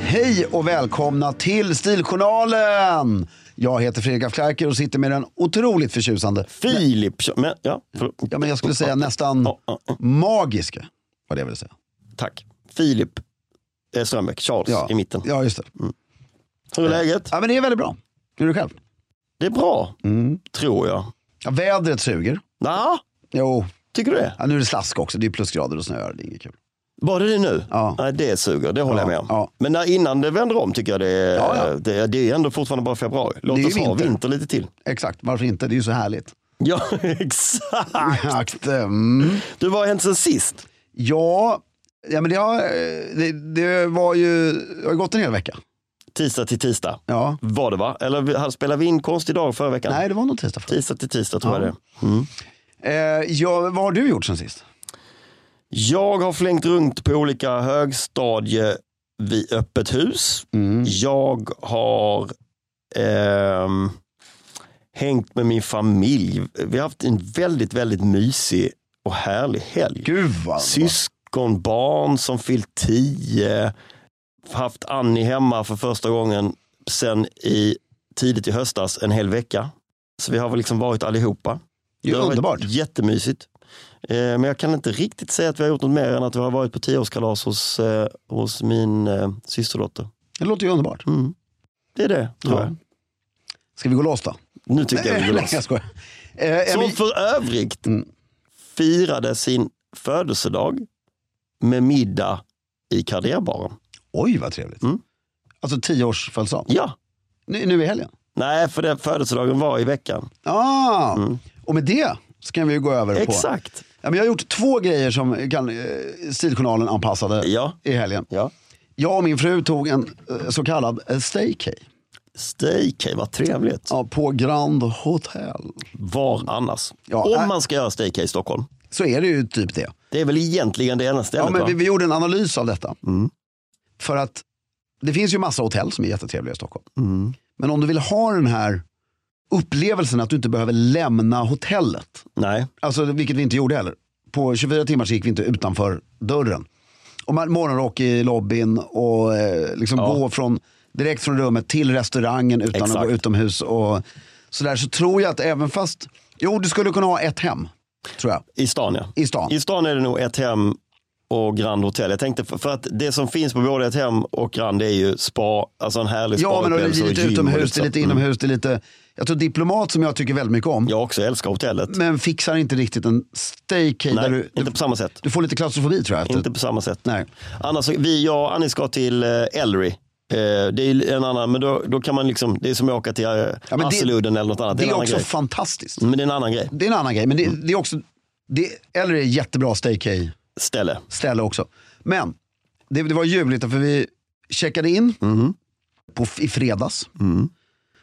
Hej och välkomna till Stiljournalen! Jag heter Fredrik af Klerker och sitter med den otroligt förtjusande, Filip, men, ja, förlåt. ja, men jag skulle säga nästan Ja, ja, ja. magiska, var det jag ville säga. Tack. Filip eh, Strömbäck, Charles Ja, i mitten. Ja, just det. Mm. Hur är läget? Ja, men det är väldigt bra. Hur är det själv? Det är bra, Mm. tror jag. Ja, vädret suger. Nå, Jo, tycker du det? ja, nu är det slask också. Det är plusgrader och snöar. Det är inget kul. Var det det nu? Ja. Nej, det suger, det håller Ja, jag med om. ja. Men när, innan det vänder om tycker jag det är, Ja, ja. Det, det är ändå fortfarande bara februari. Låt Det är ju oss ha vinter. vinter lite till. Exakt, varför inte? Det är ju så härligt. Ja, exakt. Exakt. Mm. Du, vad har hänt sen sist? Ja, ja men det har, eh, det, det var ju, det har ju gått en hel vecka. Tisdag till tisdag Ja. var det va? Eller vi- hade- spelade vi in konstig dag förra veckan? Nej, det var nog tisdag. förut. Tisdag till tisdag tror Ja. jag det är. Eh, ja, vad har du gjort sen sist? Jag har flängt runt på olika högstadie vid öppet hus. Jag har ehm, hängt med min familj. Vi har haft en väldigt, väldigt mysig och härlig helg. Gud vad Syskonbarn som fyllt tio. Haft Annie hemma för första gången sen i, tidigt i höstas, en hel vecka. Så vi har väl liksom varit allihopa. det är har varit underbart. Jättemysigt. Eh, Men jag kan inte riktigt säga att vi har gjort något mer än att vi har varit på tioårskalas hos, eh, hos min eh, systerdotter. Det låter ju underbart. Mm. Det är det, tror Ja. jag. Ska vi gå loss då? Nu tycker jag vi går Nej, loss. jag skojar. Eh, ja, Som men- för övrigt Mm. firade sin födelsedag med middag i Cardiabaren. Oj, vad trevligt. Mm. Alltså tioårsfödelsedag. Ja, Nu, nu i helgen. nej för den födelsedagen var i veckan. Ah, Och med det så kan vi ju gå över på... Mm. Exakt. Ja, men jag har gjort två grejer som kan, eh, Stiljournalen anpassade Ja. i helgen. Ja. Jag och min fru tog en eh, så kallad eh, staycay Staycay, vad trevligt. ja, på Grand Hotel. Var annars? Ja, äh- Om man ska göra staycay i Stockholm. Så är det ju typ det. Det är väl egentligen det enda stället Ja, men va? vi, vi gjorde en analys av detta. Mm. För att det finns ju massa hotell som är jättetrevliga i Stockholm. Mm. Men om du vill ha den här upplevelsen att du inte behöver lämna hotellet. Nej, Alltså, vilket vi inte gjorde heller. På 24 timmar så gick vi inte utanför dörren. Och man morgonrock i lobbyn och eh, liksom gå från, direkt från rummet till restaurangen utan att Exakt. gå utomhus. Och sådär. Så tror jag att även fast, jo du skulle kunna ha ett hem. Tror jag. i stan ja. I stan. I stan är det nog ett hem och Grand Hotel. Jag tänkte för för att det som finns på både ett hem och Grand är ju spa, alltså en härlig Ja, men det är spaupplevelse och lite gym och utomhus, det så. är lite Mm. inomhus, det är lite... Jag tror Diplomat som jag tycker väldigt mycket om, Jag också älskar hotellet. men fixar inte riktigt en staycay Nej, där du, inte du, på samma sätt. du får lite klaustrofobi tror jag. efter- Inte på samma sätt. Nej. Annars, så- vi, jag och Annie ska till eh, Ellery. Eh, det är ju en annan, men då, då kan man liksom, det är som att åka till eh, men det- Hasseludden eller något annat. Det en är annan också grej. fantastiskt. Men det är en annan grej. Det är en annan grej, men det, Mm. det är också... Det, eller är jättebra staycay. Ställe. ställe också. Men det, det var ljuvligt för vi checkade in Mm. på, f- i fredags.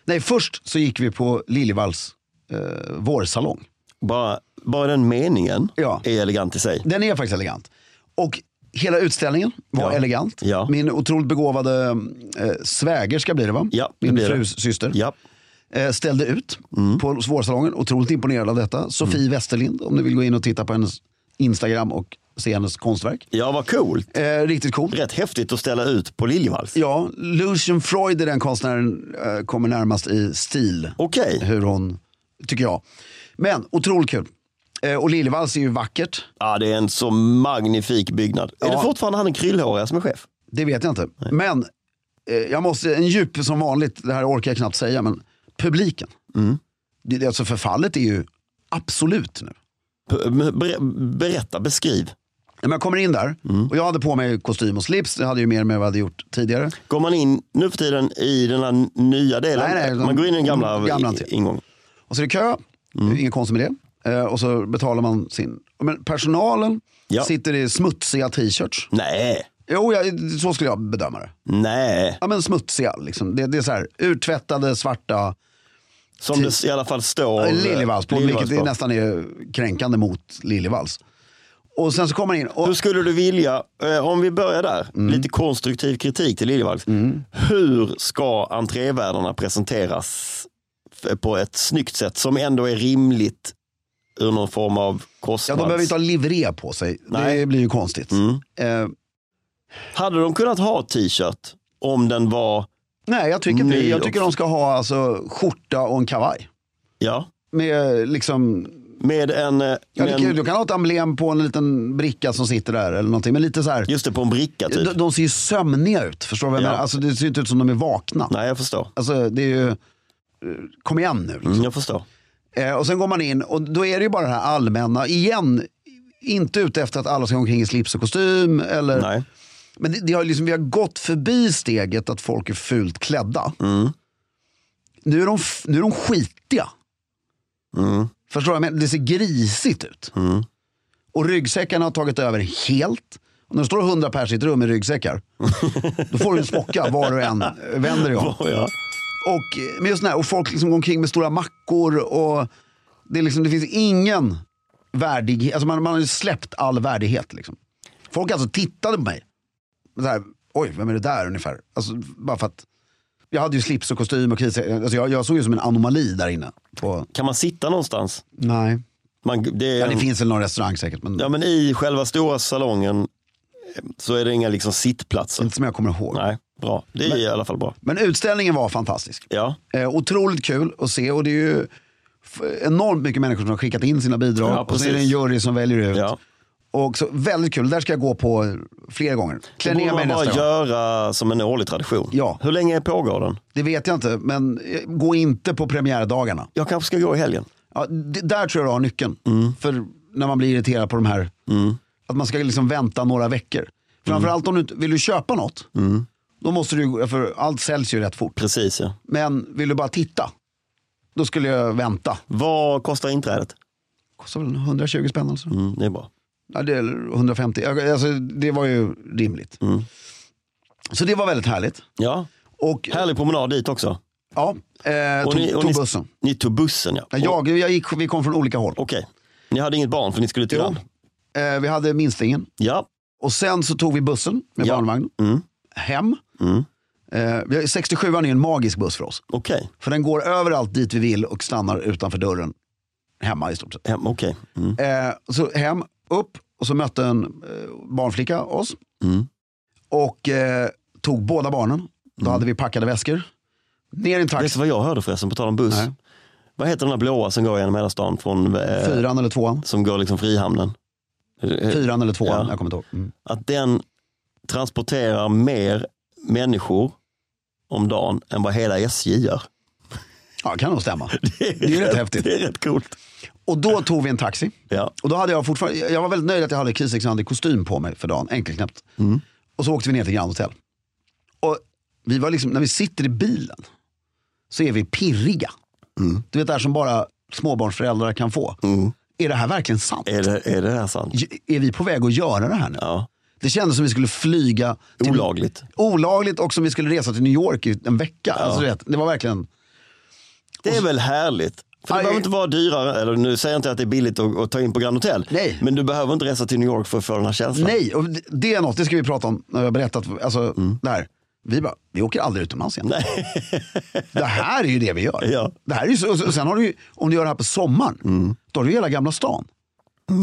Nej, först så gick vi på Liljevalchs eh, vårsalong. Bara, bara den meningen Ja. är elegant i sig. Den är faktiskt elegant. Och hela utställningen var Ja. elegant. Ja. Min otroligt begåvade eh, svägerska blir det va? Ja, det Min blir det. frus syster. Ja. Eh, ställde ut på vårsalongen. Otroligt imponerad av detta. Sofie Westerlind om du vill gå in och titta på hennes Instagram och se hennes konstverk. ja, vad coolt. Eh, riktigt coolt. Rätt häftigt att ställa ut på Liljevalchs. Ja, Lucian Freud är den konstnären eh, kommer närmast i stil. Okej, Hur hon, tycker jag. Men otroligt kul. Eh, och Liljevalchs är ju vackert. ja, det är en så magnifik byggnad. Är Ja. det fortfarande han den kryllhåriga som är chef? Det vet jag inte. Men eh, jag måste, en djup som vanligt, det här orkar jag knappt säga, men publiken. Det, det- alltså förfallet är ju absolut nu. P- ber- Berätta, beskriv. Men jag kommer in där Mm. och jag hade på mig kostym och slips. Det hade ju mer med vad jag hade gjort tidigare. Går man in nu för tiden i den här n- nya delen? Nej, nej, de- man går in i den gamla, de gamla till. ingången. Och så är det kö, Mm. inget konstigt med det. Eh, och så betalar man sin... Men personalen Ja. sitter i smutsiga t-shirts. Nej, Jo, jag, så skulle jag bedöma det. nej. Ja, men smutsiga. Liksom. Det, det är så här, urtvättade, svarta, Som det i alla fall står. Liljevalchs på, vilket eh, Liljevalchs det på. nästan är kränkande mot Liljevalchs. Och sen så kommer man in och Hur skulle du vilja, eh, om vi börjar där, Mm. lite konstruktiv kritik till Liljevalchs. Hur ska entrévärdarna presenteras f- på ett snyggt sätt som ändå är rimligt ur någon form av ja, kostnad? de behöver inte ha livré på sig. Det Nej. Mm. blir ju konstigt. Eh, Hade de kunnat ha t-shirt om den var, nej, jag tycker inte det. Nej, Jag och- tycker de ska ha alltså, skjorta och en kavaj. ja, Med liksom med en, eh, Ja, med det kan, en du kan ha ett emblem på en liten bricka som sitter där eller någonting. Men lite så här, just det, på en bricka typ? de, de ser ju sömniga ut. Förstår du vad jag Ja. menar? Alltså, det ser ju inte ut som de är vakna. Nej, jag förstår. Alltså, det är ju, eh, kom igen nu. Liksom. Mm, jag förstår. Eh, och sen går man in och då är det ju bara det här allmänna. Igen, inte ute efter att alla ska gå omkring i slips och kostym. Eller, Nej. Men det, det har ju liksom, vi har gått förbi steget att folk är fult klädda. Nu, är de, f- nu är de skitiga. Mm. Förstår du? vad jag menar? Det ser grisigt ut. Och ryggsäckarna har tagit över helt. Och när det står 100 pers i ett rum med ryggsäckar, då får du en smocka var du än vänder dig om. Oh, ja. Och, eh, men just den här, och folk liksom går omkring med stora mackor och det, är liksom, det finns ingen värdighet. Alltså man, man har ju släppt all värdighet. Liksom. Folk alltså tittade på mig. Så här, Oj, vem är det där ungefär? Alltså, bara för att jag hade ju slips och kostym och kris. Alltså jag, jag såg ju som en anomali där inne. På, Kan man sitta någonstans? nej. Man, det är Ja, det en- finns väl någon restaurang säkert, men Ja, men i själva stora salongen eh, så är det inga liksom sittplatser. inte som jag kommer ihåg. Nej, bra. Det är i alla fall bra. Mm. Men utställningen var fantastisk. Ja, Eh, otroligt kul att se och det är ju f- enormt mycket människor som har skickat in sina bidrag. Ja, och så är det en precis. jury som väljer ut. ja. Och så, väldigt kul, där ska jag gå på flera gånger. Klä Det ner borde mig man bara nästa gång. göra som en årlig tradition. Ja. Hur länge pågår den? Det vet jag inte, men eh, gå inte på premiärdagarna. Jag kanske ska gå i helgen. Ja, det, där tror jag du har nyckeln. Mm. För när man blir irriterad på de här, att man ska liksom vänta några veckor. Mm. Framförallt om du inte- vill du köpa något, då måste du, för allt säljs ju rätt fort. Precis ja. Men vill du bara titta, då skulle jag vänta. Vad kostar inträdet? Kostar väl 120 spänn alltså. Mm, det är bra. Ja, det, eller 150, Jag- alltså, det var ju rimligt. Mm. Så det var väldigt härligt. Ja, Och härlig promenad dit också. Ja, eh, tog, tog bussen. Ni, ni tog bussen ja. Ja, Och- Jag, jag gick, vi kom från olika håll. Okej. Ni hade inget barn för ni skulle till land? Eh, vi hade minstingen. Ja. Och sen så tog vi bussen med Ja. barnvagn Mm. hem. Mm. Eh, vi har- 67an är en magisk buss för oss. Okej. För den går överallt dit vi vill och stannar utanför dörren. Hemma i stort sett. Hem, okej. Mm. Eh, så hem, upp och så mötte en eh, barnflicka oss. Mm. Och eh, tog båda barnen. Då hade vi packade väskor. Ner i en Vet du taxi. vad jag hörde förresten, på tal om buss? Nej. Vad heter den där blåa som går genom hela stan? Från, eh, Fyran eller tvåan. som går liksom Frihamnen? Fyran eller tvåan, Ja. jag kommer inte ihåg. Mm. Att den transporterar mer människor om dagen än vad hela SJ gör. Ja, det kan nog stämma. Det är ju rätt häftigt. Det är rätt coolt. Och då tog vi en taxi. Ja. Och då hade jag fortfarande, jag var väldigt nöjd att jag hade Kies 600 kostym på mig för dagen, enkelknäppt. Mm. Och så åkte vi ner till Grand Hotel. Och vi var liksom, när vi sitter i bilen så är vi pirriga. Mm. Du vet det här som bara småbarnsföräldrar kan få. Är det här verkligen sant? Är det, är det här sant? J- Är vi på väg att göra det här nu? Eh. Ja. Det kändes som vi skulle flyga. till- Olagligt. Olagligt och som vi skulle resa till New York i en vecka. Alltså, du vet, det var verkligen... Det är väl härligt? För det Aj. behöver inte vara dyrare, eller nu säger jag inte att det är billigt att, att ta in på Grand Hotel. Nej. Men du behöver inte resa till New York för att få den här känslan. Nej, och det- det är något, det ska vi prata om när vi har berättat alltså, Mm. det här. Vi bara, vi åker aldrig utomlands igen. det här är ju det vi gör. Ja. Mm. Det här är ju, så- och sen har du ju, om du gör det här på sommaren, då har du ju hela Gamla stan.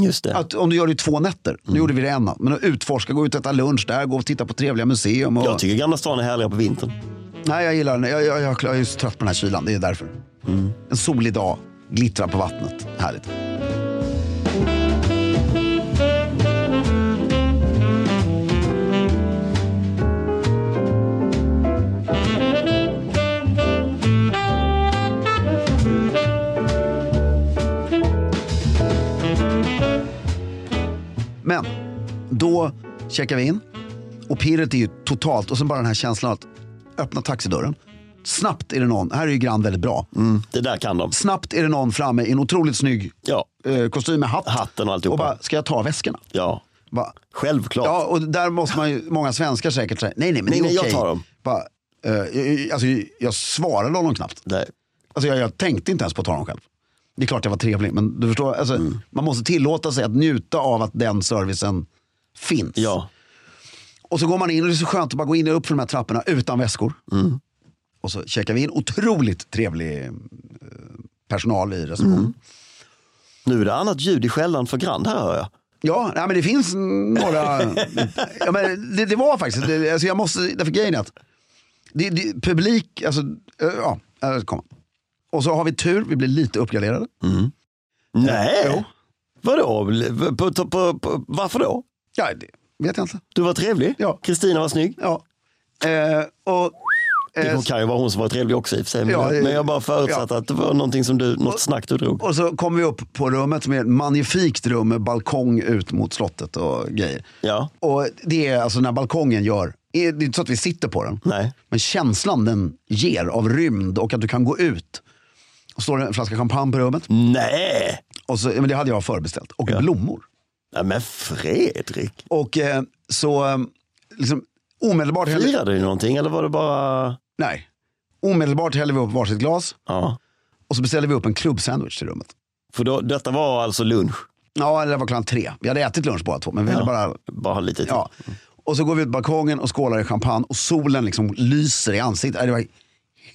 Just det. Att, om du gör det i två nätter, Mm. nu gjorde vi det en natt, men att utforska, gå ut och äta lunch där, gå och titta på trevliga museum. Och, Jag tycker Gamla stan är härligare på vintern. nej, jag gillar den. Jag, jag, jag, jag är så trött på den här kylan, det är därför. Mm. En solig dag, glittrar på vattnet, härligt. Men då checkar vi in och pirret är ju totalt och sen bara den här känslan att öppna taxidörren. Snabbt är det någon, här är ju Grand väldigt bra. Det där kan de. Snabbt är det någon framme i en otroligt snygg Ja, eh, kostym med hatt. Hatten och alltihopa. Och bara, ska jag ta väskorna? ja. Bara, självklart. ja, och där måste man ju, många svenskar säkert säga, nej nej men Nej, det är nej, jag okej. tar dem. Bara, eh, alltså, jag svarade honom knappt. Nej. Alltså, jag, jag tänkte inte ens på att ta dem själv. Det är klart jag var trevlig, men du förstår, alltså, Mm. man måste tillåta sig att njuta av att den servicen finns. Ja. Och så går man in och det är så skönt att bara gå in och upp för de här trapporna utan väskor. Mm. Och så checkar vi in. Otroligt trevlig eh, personal i receptionen. Mm. Nu är det annat ljud i skällan för Grand här hör jag. Ja, nej, men det finns några. ja, men det, det var faktiskt, det, alltså jag måste, därför grejen är att det, det, publik, alltså, eh, ja, jag ska komma. Och så har vi tur, vi blir lite uppgraderade. Nej. Jo. Vadå? På, på, på, på, varför då? Ja, det vet jag inte. Du var trevlig. Ja. Kristina var snygg. Ja. Eh, och, eh, Det kan ju vara hon som var trevlig också i och för sig. Men, Ja, det- men jag bara förutsatte att det var någonting som du, något snack du drog. och så kommer vi upp på rummet som är ett magnifikt rum med balkong ut mot slottet och grejer. Ja. Och det är alltså när balkongen gör, det är inte så att vi sitter på den. Nej. Men känslan den ger av rymd och att du kan gå ut. Och står det en flaska champagne på rummet. Nej. Och så, men det hade jag förbeställt. Och blommor. Nej men Fredrik. Och eh, så eh, liksom, omedelbart, häller, Firade ni någonting eller var det bara... nej, omedelbart häller vi upp varsitt glas. Ja. Och så beställer vi upp en klubbsandwich till rummet. För då, detta var alltså lunch. Ja, det var klockan tre. Vi hade ätit lunch båda två. Men vi ville bara, Bara lite till. ja. Och så går vi ut på balkongen och skålar i champagne. Och solen liksom lyser i ansiktet. Äh, Det var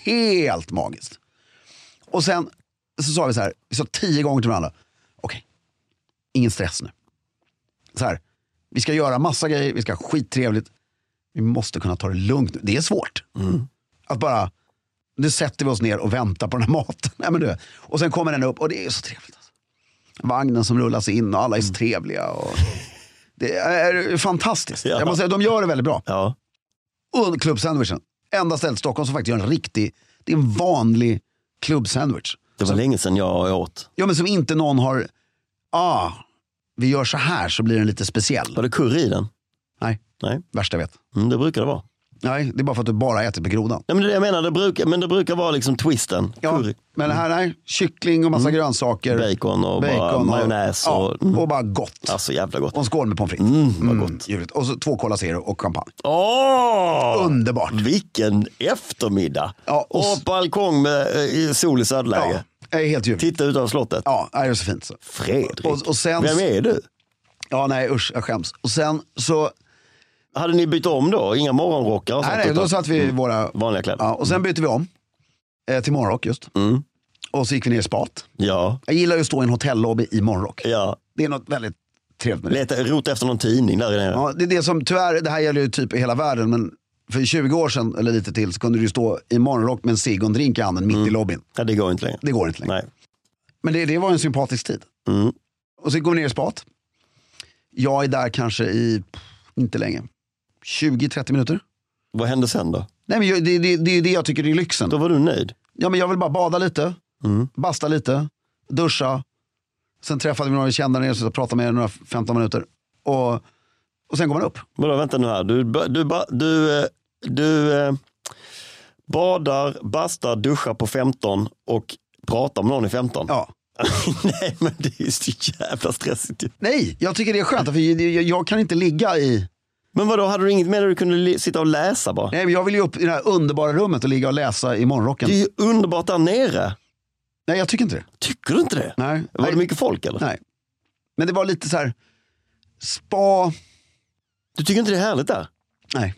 helt magiskt. Och sen så sa vi så här, vi sa tio gånger till varandra. Okej, ingen stress nu. Så här, vi ska göra massa grejer, vi ska ha skittrevligt. Vi måste kunna ta det lugnt nu. Det är svårt. Att bara, nu sätter vi oss ner och väntar på den här maten. Nej, men du, och sen kommer den upp och det är så trevligt. Alltså. Vagnen som rullas in och alla är så trevliga. Och det är fantastiskt. Ja. Jag måste säga, de gör det väldigt bra. Ja. Och klubbsandwichen. Enda stället i Stockholm som faktiskt gör en riktig, det är en vanlig klubbsandwich. Det var länge sedan jag åt. Ja men som inte någon har, ah, vi gör så här så blir den lite speciell. Var det curry i den? Nej, Nej, värsta jag vet. mm, det brukar det vara. Nej, det är bara för att du bara ätit på grodan. Nej, men det är det jag menar, det brukar, men det brukar vara liksom twisten. Ja, Curry, Mm. men här är kyckling och massa grönsaker. bacon och bara majonnäs. Och, ja, och bara gott. Alltså jävla gott. Och en skål med pommes frites. Mm, vad gott. Ljuvligt. Och så två Cola Zero och champagne. Åh! Underbart. Vilken eftermiddag! Ja, och och s- balkong med eh, i sol i Ja, söderläge. det är helt ljuvligt. Titta ut över slottet. Ja, det är så fint. Så. Fredrik, Och- och sen- vem är du? Ja, nej usch, jag skäms. Och sen så Hade ni bytt om då? Inga morgonrockar och sånt? Nej, nej, då utan satt vi i våra... Vanliga kläder. Ja, och sen bytte vi om eh, till morgonrock just. Mm. Och så gick vi ner i spat. Ja, Jag gillar ju att stå i en hotellobby i morgonrock. ja. Det är något väldigt trevligt med det. Leta, rota efter någon tidning där nere. Ja, det är det som tyvärr, det här gäller ju typ i hela världen, men för 20 år sedan eller lite till så kunde du ju stå i morgonrock med en cigg och en drink i handen mitt i lobbyn. Ja, det går inte längre. Det går inte längre. Mm. Nej. Men det, det var en sympatisk tid. Mm. Och så går vi ner i spat. Jag är där kanske i, pff, inte länge, 20-30 minuter. Vad hände sen då? Nej, men jag- det, det, det är det jag tycker är lyxen. Då Mm. var du nöjd? Ja, men jag vill bara bada lite, basta lite, duscha. Sen träffade vi några vi kände där nere och pratade med er i några 15 minuter. Och, och sen går man upp. Vadå, vänta nu här. Du, ba- du, ba- du, eh, du eh, badar, bastar, duschar på 15 och pratar med någon i 15. Ja. Nej, men det är ju så jävla stressigt. ju. Nej, jag tycker det är skönt. För jag, jag- jag kan inte ligga i... Men vadå, hade du inget mer där du kunde li- sitta och läsa bara? Nej, men jag vill ju upp i det här underbara rummet och ligga och läsa i morgonrocken. Det är ju underbart där nere. Nej, jag tycker inte det. Tycker du inte det? Nej. Var Nej. det mycket folk eller? Nej. Men det var lite så här... Spa... Du tycker inte det är härligt där? Nej.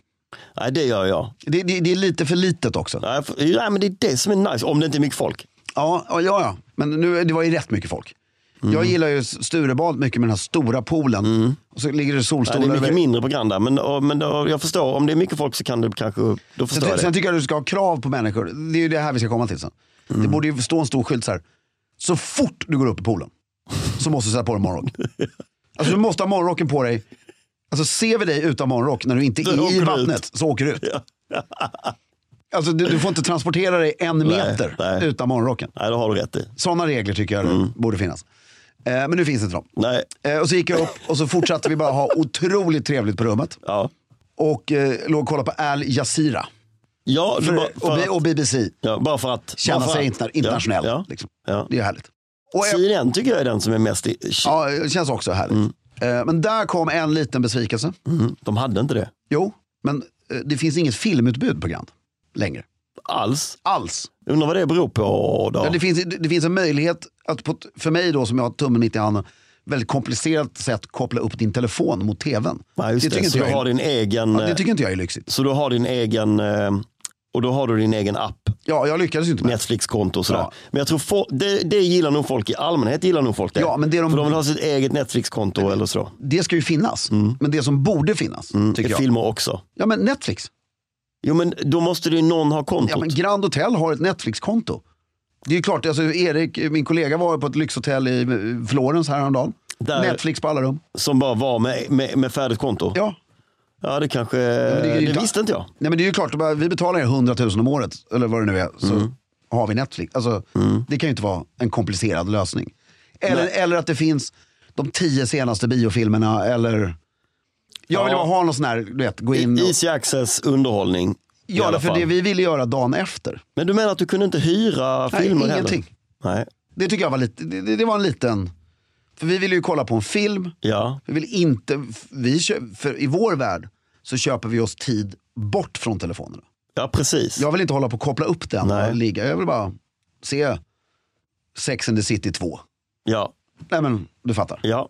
Nej, det gör jag. Det, det, det är lite för litet också. Nej, för, nej, men det är det som är nice, om det inte är mycket folk. Ja, ja, ja. ja. Men nu, det var ju rätt mycket folk. Mm. Jag gillar ju Sturebad mycket med den här stora poolen. Och så ligger det Nej, solstolar. Mm. det är över- mycket mindre på Grand där, men, och, men och, jag förstår, om det är mycket folk så kan du kanske, då förstår sen, jag det. sen tycker jag du ska ha krav på människor. Det är ju det här vi ska komma till sen. Det Mm. borde ju stå en stor skylt så här. Så fort du går upp i poolen så måste du sätta på dig morgonrock. Alltså du måste ha morgonrocken på dig. Alltså ser vi dig utan morgonrock när du inte Då är åker i du vattnet så åker du ut. Alltså du, du får inte transportera dig en meter nej. Mm. utan morgonrocken. Nej, det har du rätt i. Sådana regler tycker jag det borde finnas. Eh, men nu finns inte de. Nej, Eh, och så gick jag upp och så fortsatte vi bara ha otroligt trevligt på rummet. ja. Och eh, låg och kollade på Al Jazeera. Ja, du bara, och, för B- att, och BBC. ja, bara för att. Känna bara för sig att. interna- internationell. Ja, ja, Liksom. ja. Det är härligt. Och, eh, CNN tycker jag är den som är mest i, shit, ja, det känns också härligt. Eh, men där kom en liten besvikelse. mm, De hade inte det Jo, men eh, det finns inget filmutbud på Grand längre. alls. Alls. Undrar vad det beror på då? Ja. Det, finns, det, det finns en möjlighet att på, t- för mig då som jag har tummen mitt i handen väldigt komplicerat sätt koppla upp din telefon mot tvn. Nej, just det. eh, tycker inte Så du jag är- har din egen, Ja, det tycker inte jag är lyxigt. så du har din egen, eh, och då har du din egen app. Ja, jag lyckades ju inte med det. Netflix-konto och sådär. Ja. Men jag tror fo- det, det gillar nog folk i allmänhet. gillar nog folk det. Ja, men det de- För de vill ha sitt eget Netflix-konto eller så. det ska ju finnas. Mm. Men det som borde finnas, tycker I jag. filmer också. Ja men Netflix. Jo men då måste det ju någon ha kontot. Ja, men Grand Hotel har ett Netflix-konto. Det är ju klart, alltså Erik, min kollega var ju på ett lyxhotell i eh, Florens häromdagen. Där- Netflix på alla rum. Som bara var med, med, med färdigt konto. Ja. Ja, det kanske, men det är det, ju inte- visste inte jag. Nej men det är ju klart, bara, vi betalar er 100 000 om året, eller vad det nu är, så Mm. har vi Netflix. Alltså, Det kan ju inte vara en komplicerad lösning. Eller, eller att det finns de tio senaste biofilmerna, eller... Jag vill Ja. bara ha någon sån här, du vet, gå in och... Easy access underhållning. i Ja, alla för fall. det vi ville göra dagen efter. Men du menar att du kunde inte hyra Nej, filmer ingenting. heller? Nej, Det tycker jag var lite, det, det- det var en liten, för vi ville ju kolla på en film. ja. Vi vill inte, vi kö, för i vår värld så köper vi oss tid bort från telefonerna. ja, precis. Jag vill inte hålla på och koppla upp den Nej. och ligga, jag vill bara se Sex and the City 2. Ja, Nej men du fattar. ja.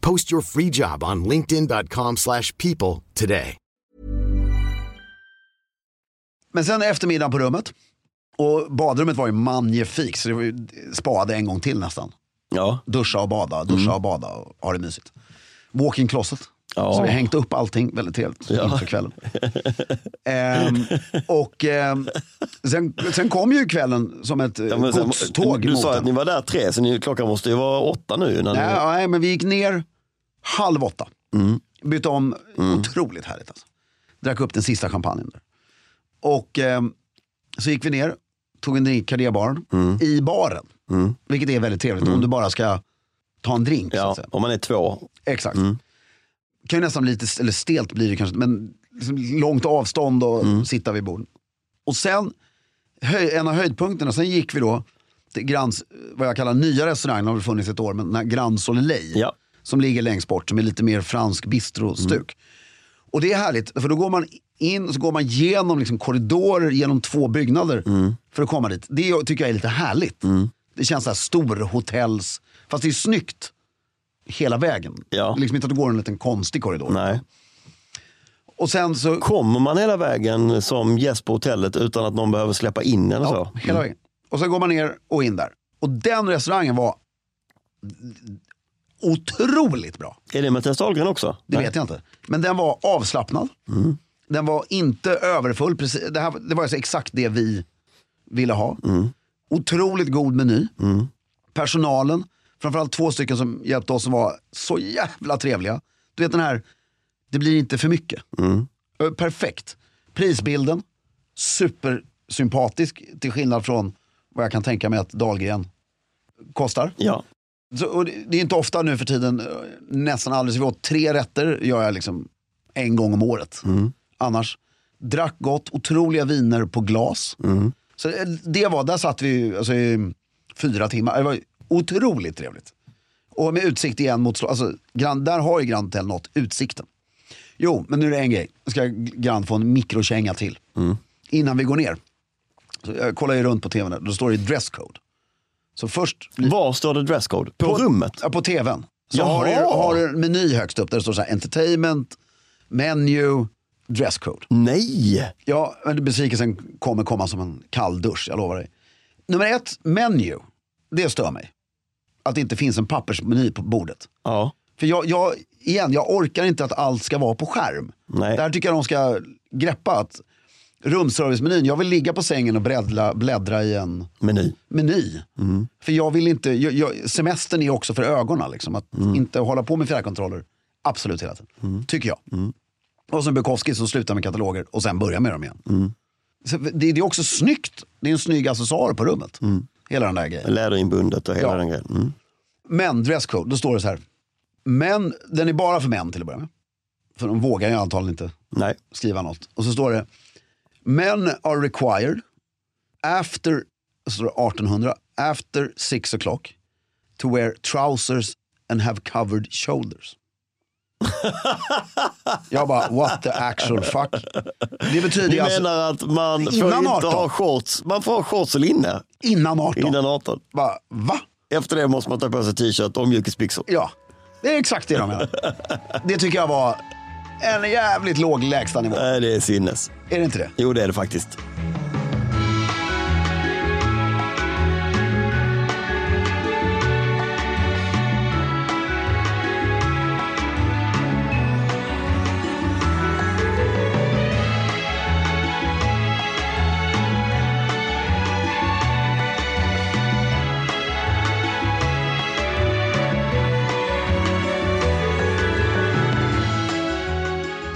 Post your free job on linkedin.com/people slash people today. Men sen eftermiddagen på rummet. Och badrummet var ju magnifikt så det var ju spade en gång till nästan. ja. Duscha och bada, duscha och bada och ha det mysigt. Walk-in closet. Mm. Ja. Så vi har hängt upp allting väldigt trevligt inför kvällen. Ehm, och ehm, sen, sen kom ju kvällen som ett ja, men sen- godståg Du mot sa en. att ni var där tre, så ni, klockan måste ju vara åtta nu. När Nej, ni, ja, nej, men vi gick ner halv åtta. Mm. Bytte om, otroligt härligt alltså. Drack upp den sista champagnen. Där. Och ehm, så gick vi ner, tog en drink i baren Mm. i baren. Vilket är väldigt trevligt om du bara ska ta en drink. Så ja, att säga. om man är två. Exakt. kan ju nästan bli lite, eller stelt blir det kanske, men liksom långt avstånd och sitta vid bord. Och sen, höj, en av höjdpunkterna, sen gick vi då till Grands, vad jag kallar nya restaurang, den har väl funnits ett år, men den här Grand Soleil. Ja. Som ligger längst bort, som är lite mer fransk bistrostuk. Och det är härligt, för då går man in, så går man genom liksom korridorer, genom två byggnader för att komma dit. Det tycker jag är lite härligt. Det känns så här storhotells, fast det är snyggt hela vägen. Ja. Det är liksom inte att du går en liten konstig korridor. Nej. Och sen så, Kommer man hela vägen som gäst på hotellet utan att någon behöver släppa in eller ja, så? hela vägen. Och sen går man ner och in där. Och den restaurangen var otroligt bra. Är det Mattias Dahlgren också? Det vet jag inte. Men den var avslappnad. Den var inte överfull. Precis, det, här, det var alltså exakt det vi ville ha. Otroligt god meny. Personalen, framförallt två stycken som hjälpte oss som var så jävla trevliga. Du vet den här, det blir inte för mycket. Ö, Perfekt. Prisbilden, supersympatisk till skillnad från vad jag kan tänka mig att Dahlgren kostar. Ja. Så, och det, det är inte ofta nu för tiden, eh, nästan aldrig, så vi åt tre rätter gör jag liksom en gång om året. Annars, drack gott, otroliga viner på glas. Så eh, det var, där satt vi ju, alltså, i fyra timmar, det var ju otroligt trevligt. Och med utsikt igen mot, Slo- alltså, Grand, där har ju Grand Hotel något, utsikten. Jo, men nu är det en grej, nu ska Grand få en mikrokänga till. Innan vi går ner, så jag kollar ju runt på tvn, där, då står det dresscode. Så först Var står det dresscode? På, rummet? Ja, på tvn. Så Jaha. har du, har du en meny högst upp där det står så här, entertainment, menu, dresscode. Nej! Ja, men besvikelsen kommer komma som en kall dusch, jag lovar dig. Nummer ett, menu. Det stör mig. Att det inte finns en pappersmeny på bordet. Ja. För jag, jag, igen, jag orkar inte att allt ska vara på skärm. Nej. Där tycker jag de ska greppa att rumsservicemenyn, jag vill ligga på sängen och bläddra, bläddra i en Meny. meny. För jag vill inte, jag, jag, semestern är också för ögonen. Liksom, att inte hålla på med fjärrkontroller absolut hela tiden. Tycker jag. Och sen Bukowski som slutar med kataloger och sen börjar med dem igen. Så det, det är också snyggt. Det är en snygg accessoar på rummet. Hela den där grejen. Läderinbundet och hela Ja. den grejen. Mm. Men dresscode, då står det så här. Men den är bara för män till att börja med. För de vågar ju antagligen inte Nej. skriva något. Och så står det, men are required after, så står det 1800, after six o'clock to wear trousers and have covered shoulders. Jag bara, what the actual fuck. Det betyder Ni ju alltså menar att man får Innan inte 18. ha shorts, man får ha shorts och linne innan 18. innan 18. Bara, va? Efter det måste man ta på sig t-shirt och mjukisbyxor. Ja, det är exakt det de menar. Det tycker jag var en jävligt låg lägstanivå. Nej, det är sinnes. Är det inte det? Jo, det är det faktiskt.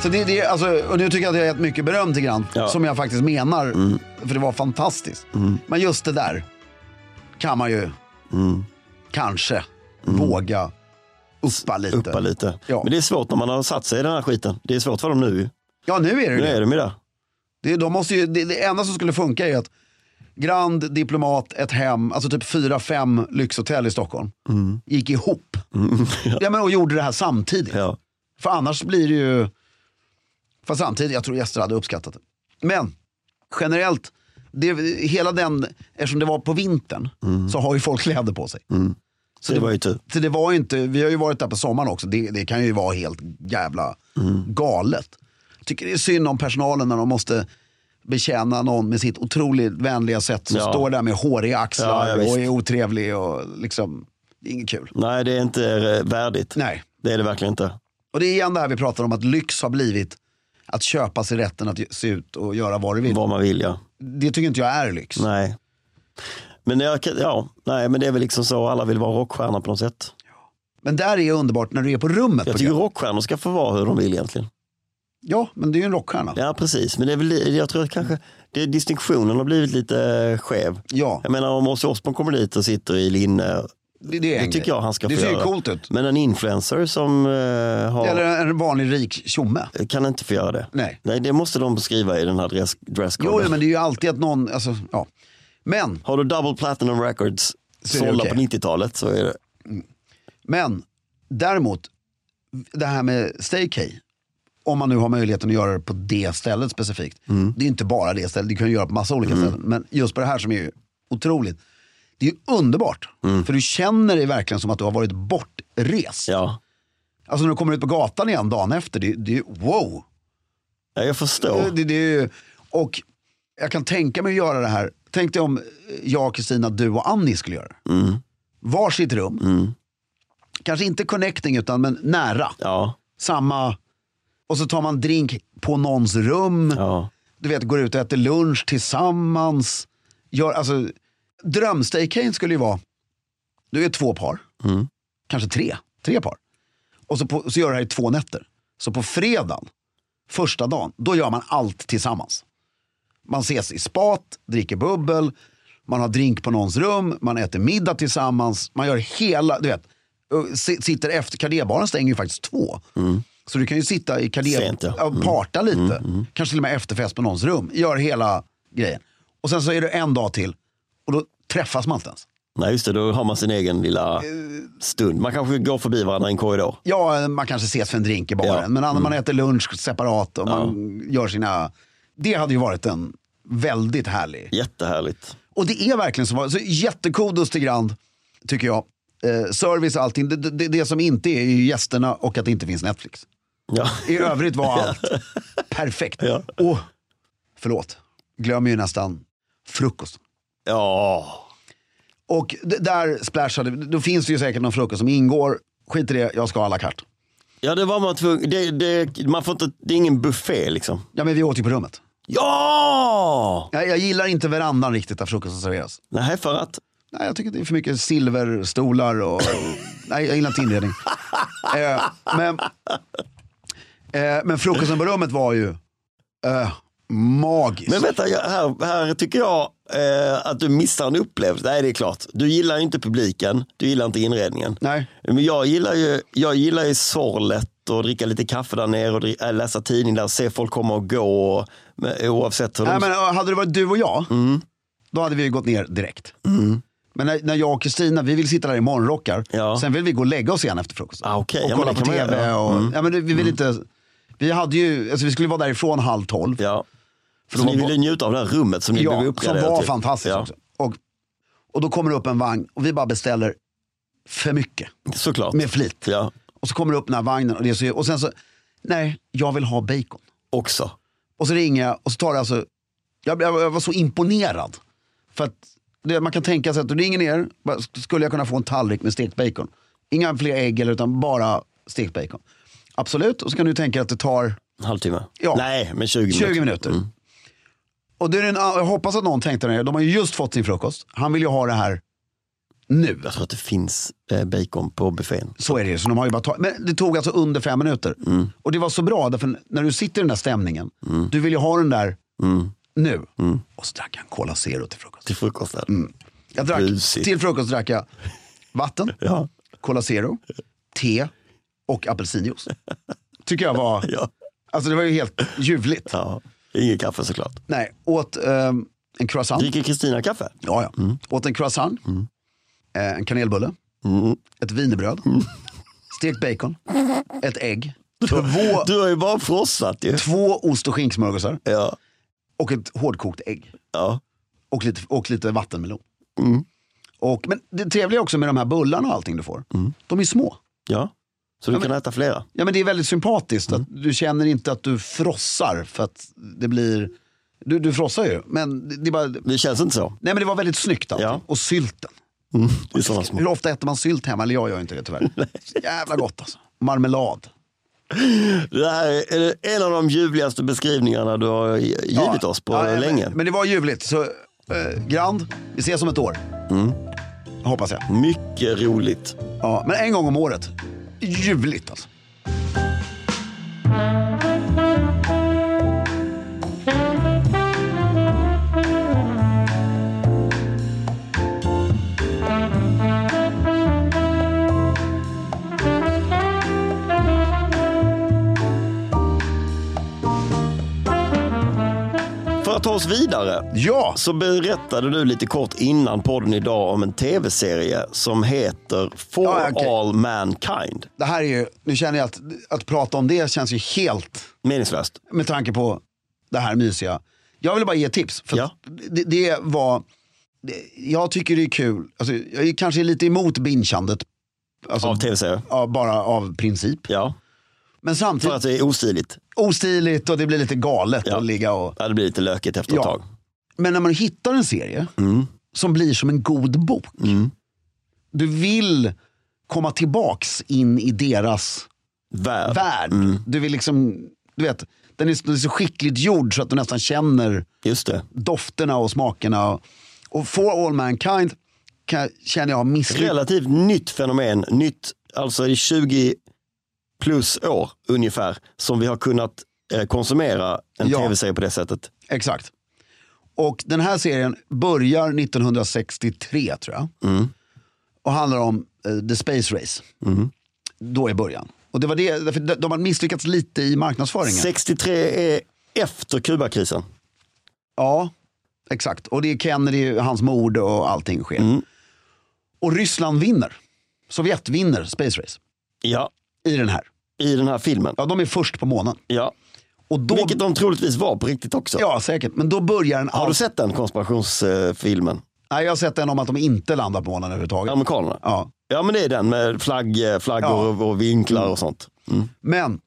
Så det, det, är alltså, och nu tycker jag att jag har gett mycket beröm till Grant, Ja. Mm. som jag faktiskt menar, för det var fantastiskt. Men just det där kan man ju Mm. kanske våga uppa lite. Uppa lite. Ja. Men det är svårt när man har satt sig i den här skiten. Det är svårt för dem nu. ju. Ja, nu är det Nu ju är det. de ju där. Det, de måste ju, det. Det enda som skulle funka är att Grand, Diplomat, ett hem, alltså typ fyra, fem lyxhotell i Stockholm gick ihop. ja. men, och gjorde det här samtidigt. Mm. Ja. För annars blir det ju... Fast samtidigt, jag tror gäster hade uppskattat det. Men generellt, det, hela den, eftersom det var på vintern Mm. så har ju folk kläder på sig. Så det var ju tur. Så det var ju inte, vi har ju varit där på sommaren också, det, det kan ju vara helt jävla Mm. galet. Tycker det är synd om personalen när de måste betjäna någon med sitt otroligt vänliga sätt som Ja. står där med håriga axlar Ja, ja, visst. och är otrevlig och liksom, det är inget kul. Nej, det är inte eh, värdigt. Nej. Det är det verkligen inte. Och det är igen det här vi pratar om att lyx har blivit att köpa sig rätten att se ut och göra vad du vill. Vad man vill, ja. Det tycker inte jag är lyx. Nej. Men, jag, kan- ja, nej, men det är väl liksom så, alla vill vara rockstjärna på något sätt. Men där är underbart när du är på rummet. Jag på tycker Grand. rockstjärnor ska få vara hur de vill egentligen. Ja, men det är ju en rockstjärna. Ja, precis. Men det är väl, jag tror att kanske det, distinktionen har blivit lite eh, skev. Ja. Jag menar om Ozzy Osbourne kommer dit och sitter i linne Det, det, är Det en tycker grej. jag han ska Det få ser ju göra. coolt ut. Men en influencer som eh, har... Eller en en vanlig rik tjomme. Kan inte få göra det. Nej. Nej, det måste de skriva i den här dress, Jo, dresskoden. jo, men det är ju alltid att någon, alltså, ja. Men, Har du double platinum records Så är det sålda okej. på 90-talet så är det... men, däremot, det här med staycay. Om man nu har möjligheten att göra det på det stället specifikt. Det är inte bara det stället, det kan ju göra på massa olika ställen. Men just på det här som är ju otroligt. Det är ju underbart. För du känner dig verkligen som att du har varit bortrest. Ja. Alltså när du kommer ut på gatan igen dagen efter, det, det är ju wow. ja, jag förstår. Eh, Det, det är ju, och jag kan tänka mig att göra det här. Tänk dig om eh, jag, Kristina, du och Annie skulle göra det. Mm. Varsitt rum. Mm. Kanske inte connecting utan men nära. Ja, Samma. Och så tar man drink på någons rum. ja. Du vet, går ut och äter lunch tillsammans. Gör, alltså, drömstaycation skulle ju vara, du är två par. Mm. Kanske tre, tre par. Och så, på, så gör du det här i två nätter. Så på fredagen, första dagen, då gör man allt tillsammans. Man ses i spat, dricker bubbel, man har drink på någons rum, man äter middag tillsammans, man gör hela, du vet. och si- Sitter efter, kardébaren stänger ju faktiskt två. Så du kan ju sitta i kardé, Mm. Sent, ja. Mm. ja, parta lite. Kanske till och med efterfest på någons rum. Gör hela grejen. Och sen så är det en dag till och då träffas man inte ens. Nej, just det. Då har man sin egen lilla Eh, stund. Man kanske går förbi varandra i en korridor. Ja, man kanske ses för en drink i baren. Ja. Mm. Men när man äter lunch separat och man gör sina... Det hade ju varit en väldigt härlig... Jättehärligt. Och det är verkligen så. så jättekodos till Grand, tycker jag. Eh, service och allting. Det, det, det som inte är, är ju gästerna och att det inte finns Netflix. Ja. I övrigt var allt perfekt. Ja. Och, förlåt, glömmer ju nästan frukost. ja. Och d- där splashade, då finns det ju säkert någon frukost som ingår. Skit i det, jag ska ha à la carte. Ja, det var man tvungen. Det, det, man får inte, det är ingen buffé liksom. Ja men vi åt ju på rummet. Ja! Jag, jag gillar inte verandan riktigt där frukosten serveras. Nej, för att. Nej, jag tycker det är för mycket silverstolar och... nej, jag gillar inte inredning. eh, men, eh, men frukosten på rummet var ju eh, magisk. Men vänta, jag, här, här tycker jag eh, att du missar en upplevelse. Nej, det är klart. Du gillar ju inte publiken. Du gillar inte inredningen. Nej, Men jag gillar ju, jag gillar ju sorlet och dricka lite kaffe där nere och dri- äh, läsa tidning där och se folk komma och gå. Och, men, oavsett hur nej de... men eh, hade det varit du och jag, Mm. då hade vi ju gått ner direkt. Men när, när jag och Kristina, vi vill sitta där i morgonrockar. Ja. Sen vill vi gå och lägga oss igen efter frukosten. Ah, okej. Och Ja, men kolla det på kan man tv. göra. Mm. och, ja, men det- vi, vill inte, vi, hade ju, alltså, vi skulle vara därifrån halv tolv. Ja. För Så det var ni bara- ville njuta av det här rummet som ni blev Ja, som uppgraderade var till. fantastiskt Ja, också. Och, och då kommer det upp en vagn och vi bara beställer för mycket. såklart. Med flit. Ja, Och så kommer det upp den här vagnen och, det är så, och sen så, nej, jag vill ha bacon. också. Och så ringer jag och så tar det alltså, jag, jag, jag var så imponerad. För att det, man kan tänka sig att du ringer ner, bara, "Sk- skulle jag kunna få en tallrik med stekt bacon? Inga fler ägg eller utan bara stekt bacon. Absolut, och så kan du tänka att det tar En halvtimme? Ja. Nej, men 20 minuter. Mm. 20 minuter. Och det är en, jag hoppas att någon tänkte det. De har ju just fått sin frukost. Han vill ju ha det här nu. Jag tror att det finns eh, bacon på buffén. Så är det ju. Så de har ju bara tagit- Men det tog alltså under fem minuter. Och det var så bra, därför när du sitter i den där stämningen, du vill ju ha den där nu. Och så drack han Cola Zero till frukost. Till frukosten. Mm. Jag drack, Busigt. till frukost drack jag vatten, Ja. Cola Zero, te och apelsinjuice. Tycker jag var, Ja. alltså det var ju helt ljuvligt. ja. Inget kaffe såklart. Nej, åt ehm, en croissant. Dricker Kristina kaffe? Ja, ja. Mm. Åt en croissant, eh, en kanelbulle, Mm. ett wienerbröd, stekt bacon, ett ägg, två, Du har ju bara frossat ju. två ost och skinksmörgåsar Ja. och ett hårdkokt ägg. Ja. Mm. Och lite, och lite vattenmelon. Och, men det trevliga också med de här bullarna och allting du får, Mm. de är små. ja. Så du men- kan äta flera. Ja, men det är väldigt sympatiskt. Mm. Att du känner inte att du frossar för att det blir... Du, du frossar ju, men det, det är bara... Det känns inte så. Nej men det var väldigt snyggt allting. Ja. Och sylten. Det är sådana små. Hur ofta äter man sylt hemma? Eller jag gör inte det tyvärr. Så Jävla gott alltså. Marmelad. Det här är en av de ljuvligaste beskrivningarna du har givit oss på Ja, men- länge. Men det var ljuvligt. Så eh, Grand, vi ses om ett år. Mm. Hoppas jag. Mycket roligt. Ja, men en gång om året. Ljuvligt alltså. att ta oss vidare Ja! så berättade du lite kort innan podden idag om en tv-serie som heter For Ja, okej. All Mankind. Det här är ju, nu känner jag att, att prata om det känns ju helt Meningslöst. med tanke på det här mysiga. Jag ville bara ge tips. För Ja. att det, det var, det, jag tycker det är kul, alltså, jag är kanske lite emot bingeandet. Alltså, Av tv-serier. ja, bara av princip. Ja, Men för samtidigt att det är ostiligt. ostiligt och det blir lite galet Ja. att ligga och... Ja, Det blir lite lökigt efter ett Ja. tag. Men när man hittar en serie som blir som en god bok. Du vill komma tillbaks in i deras Värd. värld. Mm, Du vill liksom, du vet, den är, den är så skickligt gjord så att du nästan känner Just det. dofterna och smakerna. Och For All Mankind kan, känner jag har misslyckats. Relativt nytt fenomen. Nytt, alltså i 20 plus år ungefär, som vi har kunnat eh, konsumera en Ja. tv-serie på det sättet. Exakt. Och den här serien börjar 1963 tror jag. Mm. Och handlar om eh, The Space Race. Då i början. Och det var det, därför de, de har misslyckats lite i marknadsföringen. 63 är efter Kubakrisen. Ja, exakt. Och det är Kennedy, hans mord och allting sker. Mm. Och Ryssland vinner. Sovjet vinner Space Race Ja, i den här. i den här filmen. Ja, de är först på månen. Ja. Och då, Vilket de troligtvis var på riktigt också. Ja, säkert. Men då börjar den... Har du sett den konspirationsfilmen? Nej, jag har sett en om att de inte landar på månen överhuvudtaget. Amerikanerna? Ja. Ja men det är den med flagg, eh, flaggor och vinklar och sånt. Mm. Men,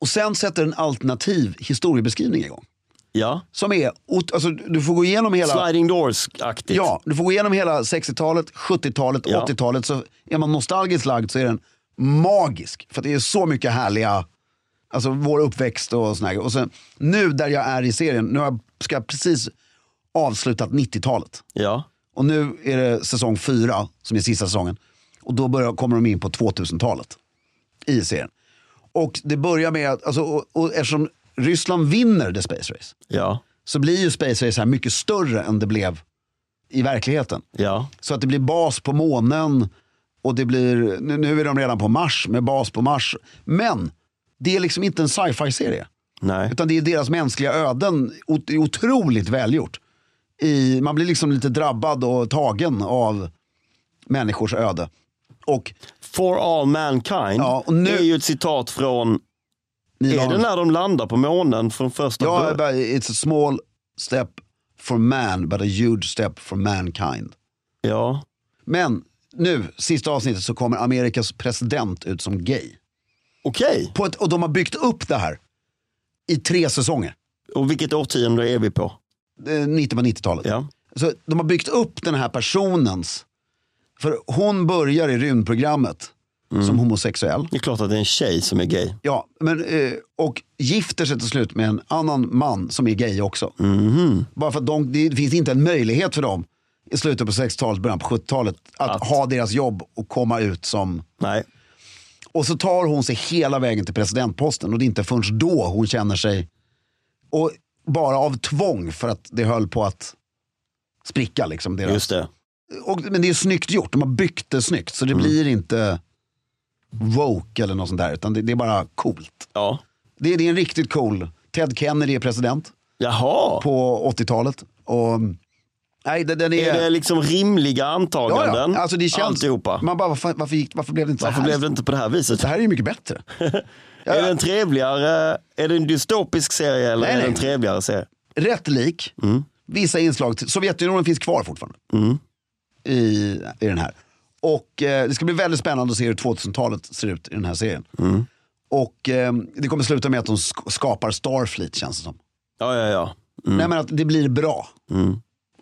och sen sätter en alternativ historiebeskrivning igång. Ja, Som är, ot- alltså, du får gå igenom hela... sliding doors-aktigt. Ja, du får gå igenom hela 60-talet, 70-talet, Ja. 80-talet. Så är man nostalgiskt lagd så är den magisk. För att det är så mycket härliga, alltså vår uppväxt och såna här. Och sen, nu där jag är i serien, nu har jag- ska jag precis avslutat 90-talet. Ja. Och nu är det säsong fyra, som är sista säsongen. Och då börjar, kommer de in på 2000-talet i serien. Och det börjar med att, alltså, och, och eftersom Ryssland vinner The Space Race, ja, så blir ju Space Race här mycket större än det blev i verkligheten. ja, Så att det blir bas på månen och det blir, nu, nu är de redan på Mars med bas på Mars. Men det är liksom inte en sci-fi-serie. nej. Utan det är deras mänskliga öden, o- det är otroligt välgjort. I, man blir liksom lite drabbad och tagen av människors öde. Och For all mankind Ja, och nu- är ju ett citat från, ni är det när de landar på månen från första Ja, början? bara, it's a small step for man but a huge step for mankind. Ja, Men nu, sista avsnittet, så kommer Amerikas president ut som gay. okej. På ett, och de har byggt upp det här i tre säsonger. Och vilket årtionde är vi på? Eh, 90 på 90-talet. Ja, Så de har byggt upp den här personens, för hon börjar i rymdprogrammet som homosexuell. det är klart att det är en tjej som är gay. Ja, men, eh, och gifter sig till slut med en annan man som är gay också. Mm. Mhm. Bara för att de, det finns inte en möjlighet för dem i slutet på 60-talet, början på 70-talet att, Att- ha deras jobb och komma ut som... Nej, Och så tar hon sig hela vägen till presidentposten och det är inte förrän då hon känner sig... Och bara av tvång för att det höll på att spricka. Liksom, deras just det. och, men det är snyggt gjort, de har byggt det snyggt. Så det Mm. blir inte woke eller något sånt där, utan det, det är bara coolt. Ja. Det, det är en riktigt cool, Ted Kennedy är president Jaha, på 80-talet. Och, nej, den, den är... är det liksom rimliga ja, antaganden? ja. Alltså, det känns, Alltihopa. Man bara, varför, varför, gick, varför blev det inte Varför så här? blev det inte på det här viset? Det här är ju mycket bättre. Är det en trevligare, är det en dystopisk serie eller Nej, är det en nej. trevligare serie? Rätt lik, vissa inslag. till- Sovjetunionen finns kvar fortfarande. I, I den här. Och eh, det ska bli väldigt spännande att se hur 2000-talet ser ut i den här serien. Och eh, det kommer sluta med att de sk- skapar Starfleet känns det som. Ja, ja, ja. Nej men att det blir bra.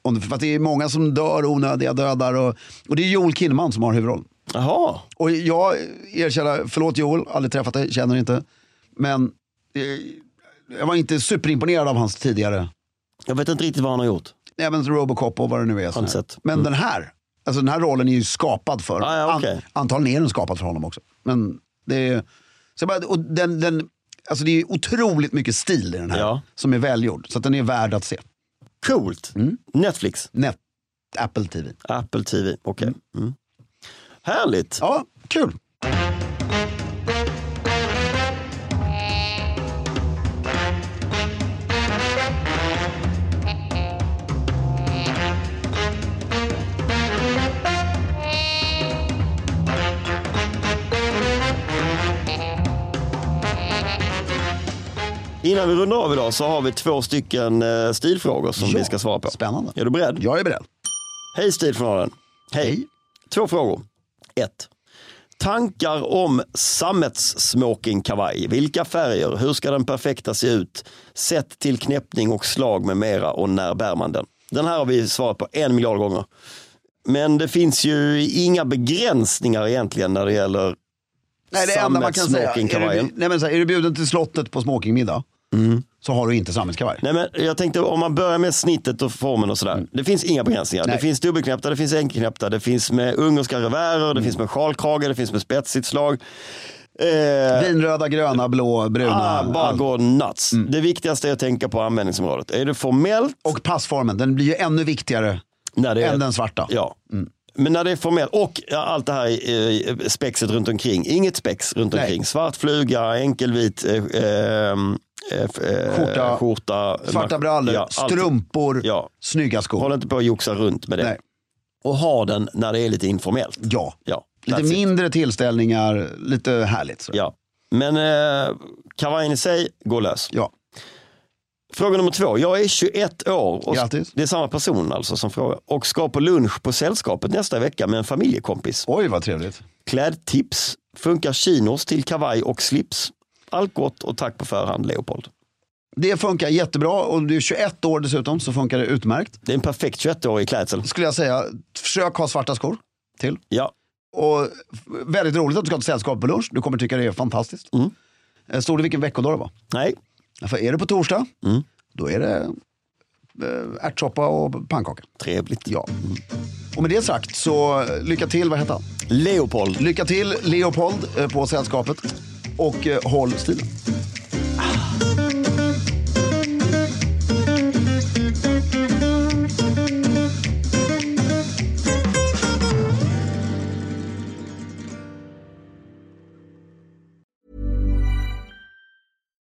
Om det, för att det är många som dör, onödiga dödar. Och, och det är Joel Kinnaman som har huvudrollen. Jaha, Och jag erkänner, förlåt Joel, aldrig träffat dig, känner inte. Men eh, jag var inte superimponerad av hans tidigare jag vet inte riktigt vad han har gjort. även Robocop och vad det nu är. sån här. sett. Mm. Men den här, alltså den här rollen är ju skapad för Ah, ja, okej. Antagligen är den skapad för honom också. Men det är, så jag bara, och den, den, alltså det är otroligt mycket stil i den här Ja. som är välgjord. Så att den är värd att se. Coolt. Mm. Netflix, Net, Apple TV. Apple TV, okej. Mm. Härligt. Ja, kul. Innan vi rundar av idag så har vi två stycken eh, stilfrågor som Ja, vi ska svara på. spännande. Är du beredd? Jag är beredd. Hej stilfrånaren. Hej. Två frågor. Ett. Tankar om sammetssmokingkavaj. Vilka färger? Hur ska den perfekta se ut? Sätt till knäppning och slag med mera och när bär man den? Den här har vi svarat på en miljard gånger. Men det finns ju inga begränsningar egentligen när det gäller Nej, det enda man kan säga. Är du, Sammetssmokingkavajen. nej, men så här, är du bjuden till slottet på smokingmiddag Mm. så har du inte sammetskavaj. Nej, men jag tänkte om man börjar med snittet och formen och sådär. Det finns inga begränsningar. Mm. Nej. Det finns dubbelknäppta, det finns enkelknäppta, det finns med ungerska revärer, Mm. det finns med sjalkrage, det finns med spetsigt slag. Eh, Vinröda, gröna, blå, bruna. ah, bara allt. gå nuts. Det viktigaste är att tänka på användningsområdet. Är det formellt? Mm. Och passformen, den blir ju ännu viktigare när det är, än den svarta. Ja. Mm. Men när det är formellt och ja, allt det här eh, spexet runt omkring. Inget spex runt Nej. omkring. Svart fluga, enkelvit eh, eh, eh, eh, Skjorta, skjorta Svarta brallor, Ja, allt. strumpor, Ja. snygga skor. Håll inte på och joxa runt med det. Nej. Och ha den när det är lite informellt. Ja. Ja, Lite that's it. mindre tillställningar, lite härligt. Så. Ja. Men eh, kavajen i sig, gå lös. Ja. Fråga nummer två. Jag är 21 år. Och Grattis. Det är samma person alltså som frågar. Och ska på lunch på Sällskapet nästa vecka med en familjekompis. Oj, vad trevligt. Klädtips. Funkar chinos till kavaj och slips? Allt gott och tack på förhand Leopold. Det funkar jättebra och du är 21 år dessutom så funkar det utmärkt. Det är en perfekt 21-årig klädsel. Skulle jag säga, försök ha svarta skor till. Ja, Och f- väldigt roligt att du ska ha ett sällskap på lunch. Du kommer tycka det är fantastiskt. Mm. Eh, Stod det vilken veckodag det var? nej, För är det på torsdag, Mm. då är det eh, ärtsoppa och pannkaka. trevligt. Ja. Och med det sagt så eh, lycka till, vad heter han? Leopold. Lycka till Leopold eh, på sällskapet. Och eh, håll stilen.